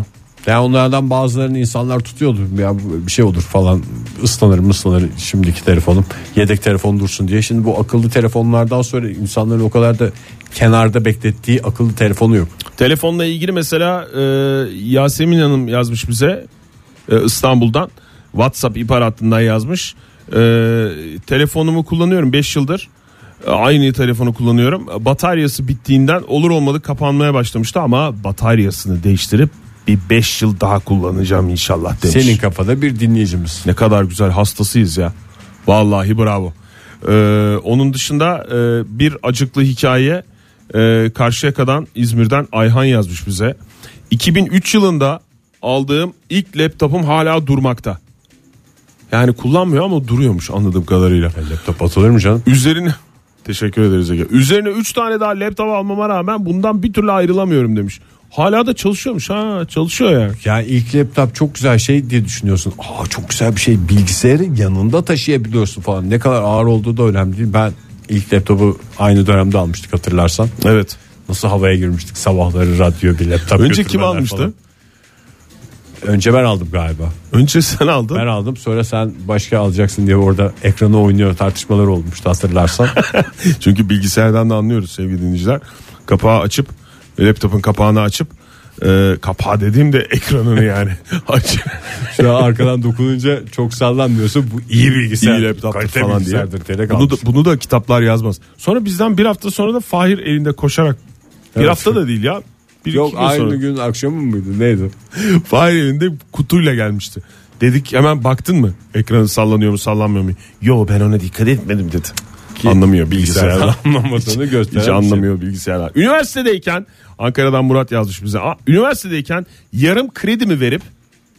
Yani onlardan bazılarını insanlar tutuyordu. Ya bu bir şey olur falan ıslanır mı ıslanır şimdiki telefonum. Yedek telefon dursun diye. Şimdi bu akıllı telefonlardan sonra insanların o kadar da kenarda beklettiği akıllı telefonu yok. telefonla ilgili mesela e, Yasemin Hanım yazmış bize e, İstanbul'dan WhatsApp ihbar hattından yazmış. E, telefonumu kullanıyorum 5 yıldır. E, Aynı telefonu kullanıyorum. E, Bataryası bittiğinden olur olmadı kapanmaya başlamıştı ama bataryasını değiştirip bir 5 yıl daha kullanacağım inşallah demiş. Senin kafada bir dinleyicimiz. Ne kadar güzel hastasıyız ya. Vallahi bravo. Ee, onun dışında e, bir acıklı hikaye e, Karşıyaka'dan İzmir'den Ayhan yazmış bize. 2003 yılında aldığım ilk laptopum hala durmakta. Yani kullanmıyor ama duruyormuş anladığım kadarıyla. Laptop atılır mı canım? Üzerine teşekkür ederiz Ege. Üzerine 3 tane daha laptop almama rağmen bundan bir türlü ayrılamıyorum demiş. Hala da çalışıyormuş ha çalışıyor yani. Yani ilk laptop çok güzel şey diye düşünüyorsun. Aa çok güzel bir şey bilgisayarı yanında taşıyabiliyorsun falan. Ne kadar ağır olduğu da önemli değil. Ben ilk laptopu aynı dönemde almıştık hatırlarsan. Evet. Nasıl havaya girmiştik sabahları radyo bir laptop Önce götürmeler kim almıştı? falan. Önce ben aldım galiba. Önce sen aldın. Ben aldım sonra sen başka alacaksın diye orada ekranı oynuyor tartışmalar olmuştu hatırlarsan. Çünkü bilgisayardan da anlıyoruz sevgili dinleyiciler. Kapağı açıp laptopun kapağını açıp e, kapağı dediğim de ekranını yani aç. Şu an arkadan dokununca çok sallanmıyorsa bu iyi bilgisayar. İyi laptop kalite falan diye. bilgisayardır diyerek Bunu da, almışım. bunu da kitaplar yazmaz. Sonra bizden bir hafta sonra da Fahir elinde koşarak bir Evet. hafta da değil ya. Bir Yok iki gün aynı sonra. gün akşamı mıydı neydi? Fahir elinde kutuyla gelmişti. Dedik hemen baktın mı? Ekranı sallanıyor mu sallanmıyor mu? Yo ben ona dikkat etmedim dedi. Anlamıyor bilgisayardan. anlamadığını gösteren Hiç bir şey. anlamıyor bilgisayarlar. Üniversitedeyken Ankara'dan Murat yazmış bize. Aa, üniversitedeyken yarım kredi mi verip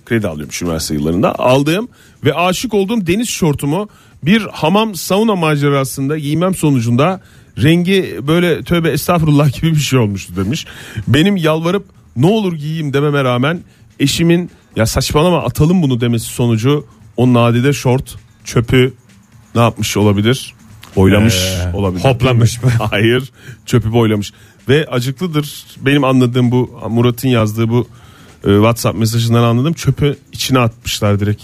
Kredi alıyormuş üniversite yıllarında. Aldığım ve aşık olduğum deniz şortumu bir hamam sauna macerasında giymem sonucunda rengi böyle tövbe estağfurullah gibi bir şey olmuştu demiş. Benim yalvarıp ne olur giyeyim dememe rağmen eşimin ya saçmalama atalım bunu demesi sonucu o nadide şort çöpü ne yapmış olabilir? Boylamış Ee, olabilir. hoplamış mı? Hayır çöpü boylamış. Ve acıklıdır benim anladığım bu Murat'ın yazdığı bu e, WhatsApp mesajından anladım. Çöpü içine atmışlar direkt.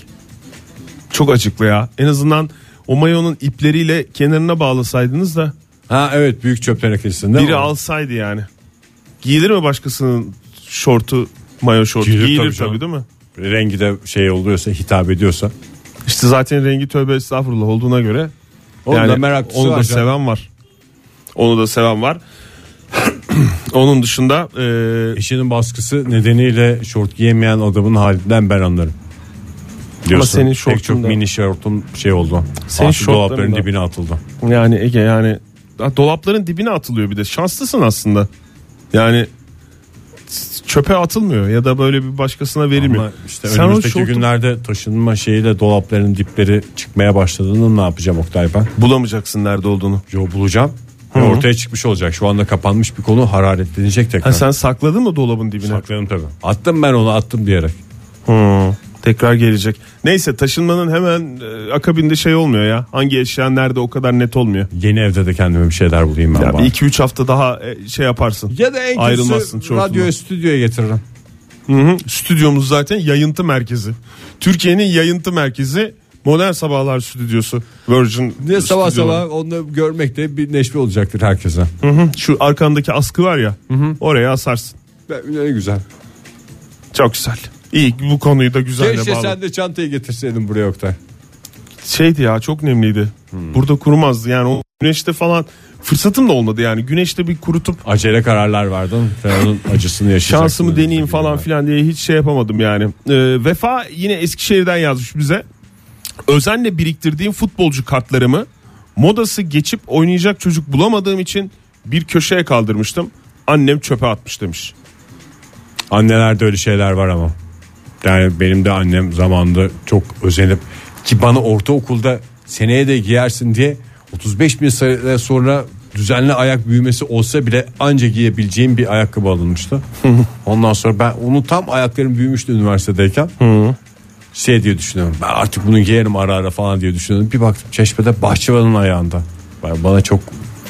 Çok acıklı ya. En azından o mayonun ipleriyle kenarına bağlasaydınız da Ha evet büyük çöp tenekesinde. biri alsaydı yani. Giyilir mi başkasının şortu mayo şortu? Giyilir Giyilir, tabii tabii, canım. değil mi? Rengi de şey oluyorsa hitap ediyorsa. İşte zaten rengi tövbe estağfurullah olduğuna göre Onun da meraklısı onu da var canım. seven var. Onu da seven var. Onun dışında e, Eşinin baskısı nedeniyle şort giyemeyen adamın halinden ben anlarım. senin Pek çok şortun da- mini şortun şey oldu. Senin Senin dolapların şortların da- dibine atıldı. yani Ege yani ha, dolapların dibine atılıyor bir de. Şanslısın aslında. Yani çöpe atılmıyor ya da böyle bir başkasına verilmiyor. Ama işte Sen o önümüzdeki şortu günlerde taşınma şeyiyle dolapların dipleri çıkmaya başladığında ne yapacağım Oktay ben? bulamayacaksın nerede olduğunu. Yo bulacağım. Ve ortaya çıkmış olacak. Şu anda kapanmış bir konu hararetlenecek tekrar. Ha, sen sakladın mı dolabın dibine? Sakladım tabii. Attım ben onu attım diyerek. Hı, tekrar gelecek. Neyse taşınmanın hemen e, akabinde şey olmuyor ya. Hangi eşya nerede o kadar net olmuyor. Yeni evde de kendime bir şeyler bulayım ben. Ya bir bari. 2-3 hafta daha e, şey yaparsın. Ya da en kötüsü Ayrılmazsın şortundan. radyoya stüdyoya getiririm. Hı, Stüdyomuz zaten yayıntı merkezi. Türkiye'nin yayıntı merkezi Modern Sabahlar Stüdyosu. Virgin Ne sabah stüdyoları. sabah onu görmek de bir neşve olacaktır herkese. Hı, Şu arkandaki askı var ya. Oraya asarsın. Ne güzel. Çok güzel. İyi bu konuyu da güzel Keşke bağlı. sen de çantayı getirseydin buraya Oktay. Şeydi ya çok nemliydi. Burada kurumazdı yani o güneşte falan fırsatım da olmadı yani. Güneşte bir kurutup Acele kararlar verdin. ve onun acısını yaşayacaksın. şansımı deneyeyim Önümüzdeki falan günler. filan diye hiç şey yapamadım yani. Ee, Vefa yine Eskişehir'den yazmış bize. Özenle biriktirdiğim futbolcu kartlarımı modası geçip oynayacak çocuk bulamadığım için bir köşeye kaldırmıştım. Annem çöpe atmış demiş. Annelerde öyle şeyler var ama. Yani benim de annem zamanında çok özenip ki bana ortaokulda seneye de giyersin diye 35 bin sene sonra düzenli ayak büyümesi olsa bile anca giyebileceğim bir ayakkabı alınmıştı. Ondan sonra ben onu tam ayaklarım büyümüştü üniversitedeyken. şey diye düşünüyorum. Ben artık bunu giyerim ara ara falan diye düşünüyordum. Bir baktım çeşmede bahçıvanın ayağında. Yani Bana çok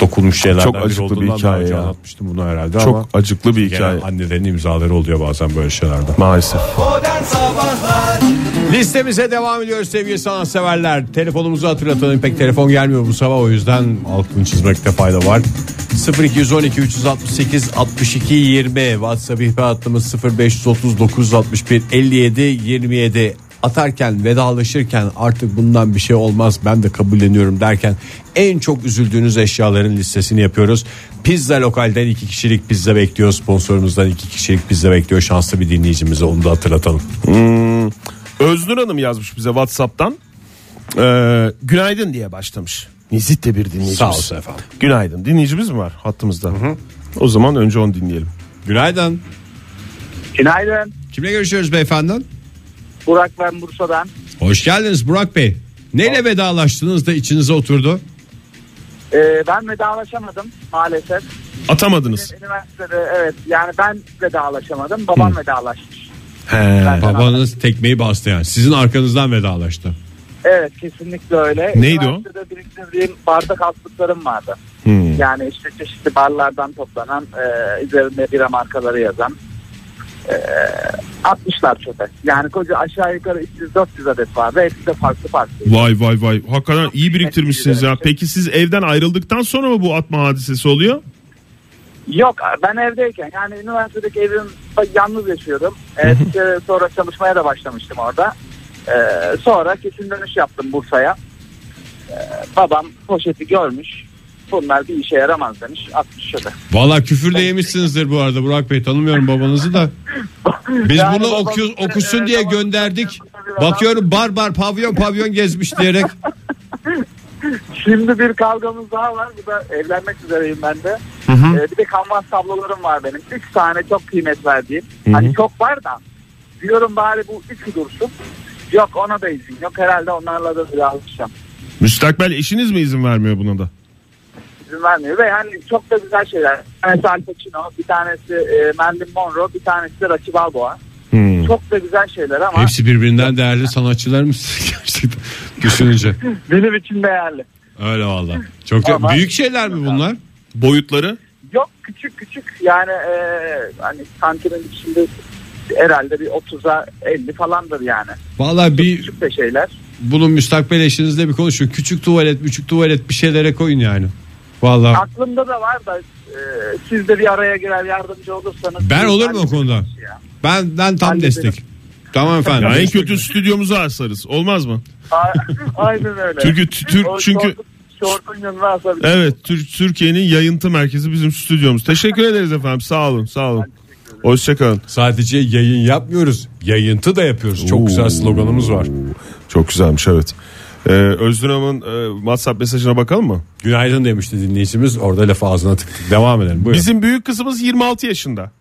dokunmuş şeylerden Çok biri acıklı bir olduğundan daha hikaye önce ya. anlatmıştım bunu herhalde ama. Çok acıklı bir hikaye. Genel annelerin imzaları oluyor bazen böyle şeylerde. Maalesef. Modern Sabahlar Listemize devam ediyoruz sevgili sanatseverler. Telefonumuzu hatırlatalım. Pek telefon gelmiyor bu sabah o yüzden altını çizmekte fayda var. 0212 368 62 20 WhatsApp ihbar hattımız 0530 961 57 27 atarken vedalaşırken artık bundan bir şey olmaz ben de kabulleniyorum derken en çok üzüldüğünüz eşyaların listesini yapıyoruz. Pizza lokalden iki kişilik pizza bekliyor sponsorumuzdan iki kişilik pizza bekliyor şanslı bir dinleyicimize onu da hatırlatalım. Öznur Hanım yazmış bize Whatsapp'tan. Ee, günaydın diye başlamış. Nezit de bir dinleyicimiz. Sağ olsun efendim. Günaydın. Dinleyicimiz mi var hattımızda? O zaman önce onu dinleyelim. Günaydın. Günaydın. Kimle görüşüyoruz beyefendi? Burak ben Bursa'dan. Hoş geldiniz Burak Bey. Neyle vedalaştınız da içinize oturdu? Ee, ben vedalaşamadım maalesef. Atamadınız. Üniversitede evet yani ben vedalaşamadım. Babam vedalaşmış. Ee, Benden aldı. Babanız tekmeyi bastı yani. Sizin arkanızdan vedalaştı. Evet kesinlikle öyle. Neydi o? Üniversitede biriktirdiğim bardak altlıklarım vardı. Yani işte çeşitli barlardan toplanan e, üzerinde bira markaları yazan e, atmışlar çöpe. Yani koca aşağı yukarı 300-400 adet vardı. Hepsi de farklı farklı. Vay vay vay. Hakikaten iyi biriktirmişsiniz ya. Peki siz evden ayrıldıktan sonra mı bu atma hadisesi oluyor? Yok ben evdeyken yani üniversitedeki evim yalnız yaşıyordum. Ee, bir kere sonra çalışmaya da başlamıştım orada. Ee, sonra kesin dönüş yaptım Bursa'ya. Ee, babam poşeti görmüş. Bunlar bir işe yaramaz demiş. Atmış şöyle. Valla küfür de yemişsinizdir bu arada Burak Bey tanımıyorum babanızı da. Biz Yani bunu babam- okuyoruz, okusun diye Ee, babam- gönderdik. Bakıyorum bar bar pavyon pavyon gezmiş diyerek. Şimdi bir kavgamız daha var. Bu da evlenmek üzereyim ben de. Ee, bir de kanvas tablolarım var benim. Üç tane çok kıymet verdiğim. Hani çok var da. Diyorum bari bu üçü dursun. Yok ona da izin yok. Herhalde onlarla da şey birazlaşacağım. Müstakbel eşiniz mi izin vermiyor buna da? izin vermiyor ve yani çok da güzel şeyler. Bir tanesi Al Pacino, bir tanesi e, Marilyn Monroe, bir tanesi de Rocky Balboa. Hmm. Çok da güzel şeyler ama Hepsi birbirinden değerli sanatçılar mı gerçekten düşününce? benim için değerli. Öyle valla. Çok da- Ama- büyük şeyler mi bunlar? Boyutları? Yok küçük küçük yani e, hani kantinin içinde herhalde bir 30'a 50 falandır yani. Valla bir Küçük de şeyler. bunun müstakbel eşinizle bir konuşun. Küçük tuvalet, küçük tuvalet bir şeylere koyun yani. Valla Aklımda da var da e, siz de bir araya girer yardımcı olursanız. şey Ben olurum o konuda. Ya. benden tam Hallederim. destek. Tamam efendim. Ya en kötü stüdyomuzu asarız. Olmaz mı? A- Aynen öyle. Çünkü t- Türk- O çünkü- şortun- Şortun yanına asabilirim. Evet Tür- Türkiye'nin yayıntı merkezi bizim stüdyomuz. Teşekkür ederiz efendim. Sağ olun sağ olun. Hoşçakalın. Sadece yayın yapmıyoruz. Yayıntı da yapıyoruz. Çok güzel sloganımız var. Çok güzelmiş evet. Ee, Özgür Hanım'ın e, WhatsApp mesajına bakalım mı? Günaydın demişti dinleyicimiz. Orada laf ağzına tıktık. Devam edelim. Buyurun. Bizim büyük kızımız 26 yaşında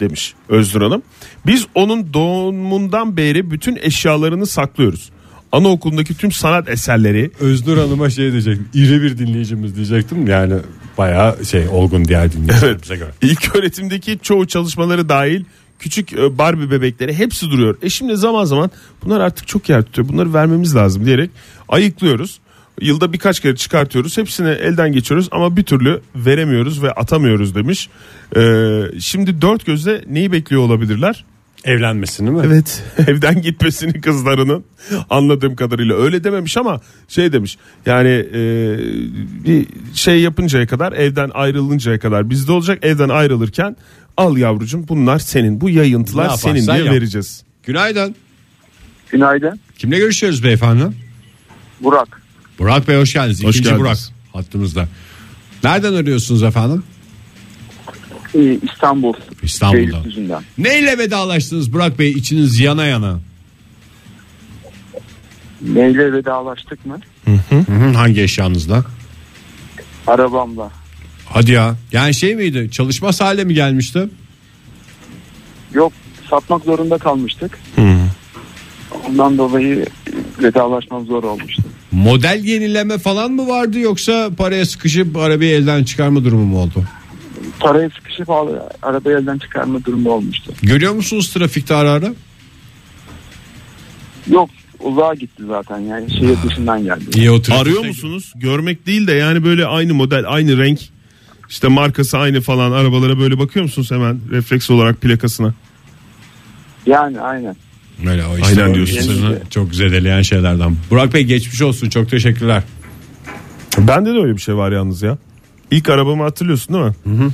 demiş Özgür Hanım. Biz onun doğumundan beri bütün eşyalarını saklıyoruz. Anaokulundaki tüm sanat eserleri Özgür Hanım'a şey diyecektim. İri bir dinleyicimiz diyecektim. Yani bayağı şey olgun diğer dinleyicilerimize göre. İlk öğretimdeki çoğu çalışmaları dahil küçük e, Barbie bebekleri hepsi duruyor. Eşimle zaman zaman bunlar artık çok yer tutuyor. Bunları vermemiz lazım diyerek ayıklıyoruz. Yılda birkaç kere çıkartıyoruz. Hepsini elden geçiyoruz ama bir türlü veremiyoruz ve atamıyoruz demiş. Ee, şimdi dört gözle neyi bekliyor olabilirler? Evlenmesini mi? Evet. Evden gitmesini kızlarının anladığım kadarıyla öyle dememiş ama şey demiş. Yani e, bir şey yapıncaya kadar evden ayrılıncaya kadar bizde olacak. Evden ayrılırken al yavrucum bunlar senin bu Ne yayıntılar yaparsan senin diye yap. vereceğiz. Günaydın. Günaydın. Kimle görüşüyoruz beyefendi? Burak. Burak Bey hoş geldiniz. Hoş İkinci geldiniz. Burak hattımızda. Nereden arıyorsunuz efendim? Ee, İstanbul. İstanbul'dan. Beylikdüzü'nden. Neyle vedalaştınız Burak Bey? İçiniz yana yana. Neyle vedalaştık mı? hangi eşyanızla? Arabamla. Hadi ya. Yani şey miydi? Çalışma hale mi gelmişti? Yok satmak zorunda kalmıştık. Ondan dolayı vedalaşmam zor olmuştu. Model yenileme falan mı vardı yoksa paraya sıkışıp arabayı elden çıkarma durumu mu oldu? Parayı sıkışıp al- arabayı elden çıkarma durumu olmuştu. Görüyor musunuz trafikte ara ara? Yok uzağa gitti zaten yani şehir dışından geldi. İyi o trafikte- Arıyor musunuz? Görmek değil de yani böyle aynı model, aynı renk, işte markası aynı falan arabalara böyle bakıyor musunuz hemen refleks olarak plakasına? Yani aynen. Öyle o işte Aynen o diyorsunuz. insanı Çok zedeleyen şeylerden. Burak Bey geçmiş olsun. Çok teşekkürler. Bende de öyle bir şey var yalnız ya. İlk arabamı hatırlıyorsun değil mi?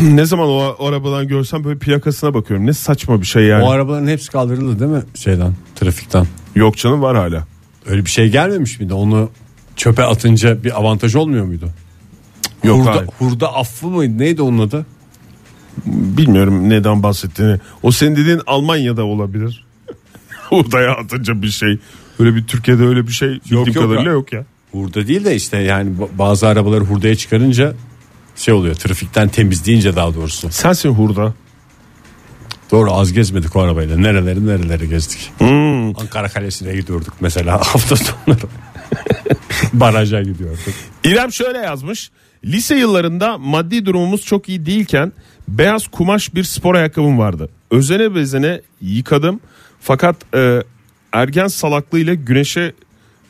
ne zaman o a- arabadan görsem böyle plakasına bakıyorum. Ne saçma bir şey yani. O arabaların hepsi kaldırıldı değil mi şeyden trafikten? Yok canım var hala. Öyle bir şey gelmemiş miydi? Onu çöpe atınca bir avantaj olmuyor muydu? Yok hurda, hayır. hurda affı mıydı? Neydi onun adı? Bilmiyorum neden bahsettiğini. O senin dediğin Almanya'da olabilir. Orada atınca bir şey. Böyle bir Türkiye'de öyle bir şey bildiğim yok kadarıyla ya. yok ya. Hurda değil de işte yani ba- bazı arabaları hurdaya çıkarınca şey oluyor trafikten temizleyince daha doğrusu. Sensin hurda. Doğru az gezmedik o arabayla. Nereleri nereleri gezdik. Ankara Kalesi'ne gidiyorduk mesela hafta sonları. Baraja gidiyorduk. İrem şöyle yazmış. Lise yıllarında maddi durumumuz çok iyi değilken beyaz kumaş bir spor ayakkabım vardı. Özene bezene yıkadım. Fakat e, ergen salaklığıyla güneşe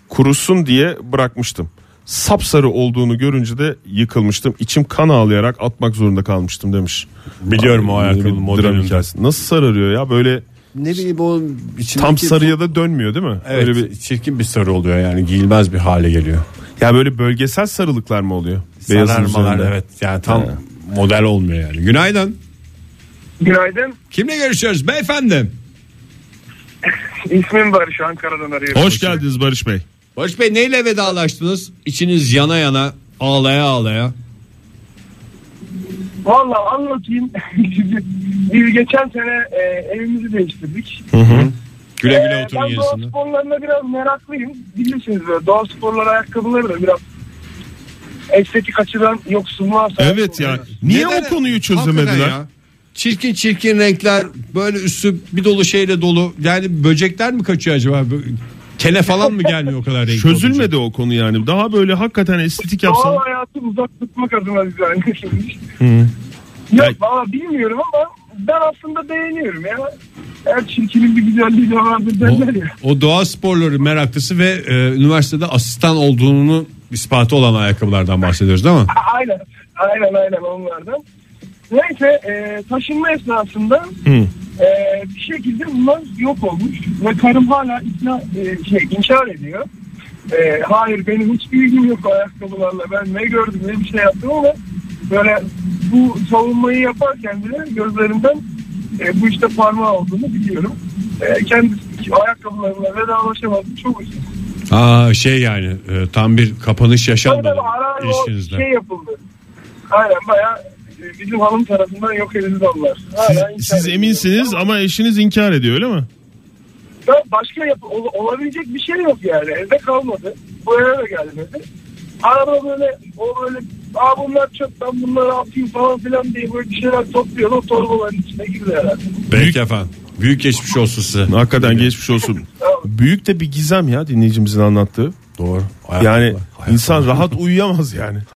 kurusun diye bırakmıştım. Sapsarı olduğunu görünce de yıkılmıştım. İçim kan ağlayarak atmak zorunda kalmıştım demiş. Biliyorum o Ay, ayakkabının bir dram modelini. hikayesi. Nasıl sararıyor ya böyle Ne bileyim o içindeki... tam sarıya da dönmüyor değil mi? Evet Öyle bir, çirkin bir sarı oluyor yani giyilmez bir hale geliyor. ya böyle bölgesel sarılıklar mı oluyor? Beyazın Sararmalar üzerinde. evet yani tam model olmuyor yani. Günaydın. Günaydın. Kimle görüşüyoruz beyefendi? İsmim Barış Ankara'dan arıyorum. Hoş geldiniz Barış Bey. Barış Bey neyle vedalaştınız? İçiniz yana yana ağlaya ağlaya. Valla anlatayım. Biz geçen sene e, evimizi değiştirdik. Güle güle E, oturun ben doğa yenisini. sporlarına biraz meraklıyım. Bilirsiniz böyle doğa sporları ayakkabıları da biraz estetik açıdan yoksunluğa sahip Evet ya. oluyoruz. Niye Ee, Neden- o konuyu Hakikaten çözemediler? ya. Çirkin çirkin renkler böyle üstü bir dolu şeyle dolu. Yani böcekler mi kaçıyor acaba? Kene falan mı gelmiyor o kadar renkli olunca? Çözülmedi o konu yani. Daha böyle hakikaten estetik yapsan. Doğal hayatı uzak tutmak adına düzenleşilmiş. Yok Yani- valla bilmiyorum ama ben aslında beğeniyorum ya. Her çirkinin bir güzelliği de vardır derler ya. O, o doğa sporları meraklısı ve e, üniversitede asistan olduğunu ispatı olan ayakkabılardan bahsediyoruz değil mi? Aynen. Aynen aynen onlardan. Neyse e, taşınma esnasında e, bir şekilde bunlar yok olmuş. Ve karım hala ikna, e, şey, inkar ediyor. E, hayır benim hiçbir ilgim yok o ayakkabılarla. Ben ne gördüm ne bir şey yaptım ama böyle bu savunmayı yaparken bile gözlerimden e, bu işte parmağı olduğunu biliyorum. E, kendisi ayakkabılarla vedalaşamadım. Çok üzüldüm. Aa şey yani e, tam bir kapanış yaşanmadı Tabii tabii, ara ara o ilişkinizde. şey yapıldı. Aynen baya e, bizim hanım tarafından yok edildi onlar. Siz, Hala inkar siz ediyor. eminsiniz ama eşiniz inkar ediyor öyle mi? Ya başka yap ol- olabilecek bir şey yok yani. Evde kalmadı. Bu eve de gelmedi. Arada böyle o böyle Aa bunlar çöp ben bunları atayım falan filan diye böyle bir şeyler topluyor. O torbaların içine girdi herhalde. Peki efendim. Büyük geçmiş olsun size. Hakikaten geçmiş olsun. Büyük de bir gizem ya dinleyicimizin anlattığı. Doğru. Yani insan rahat uyuyamaz yani.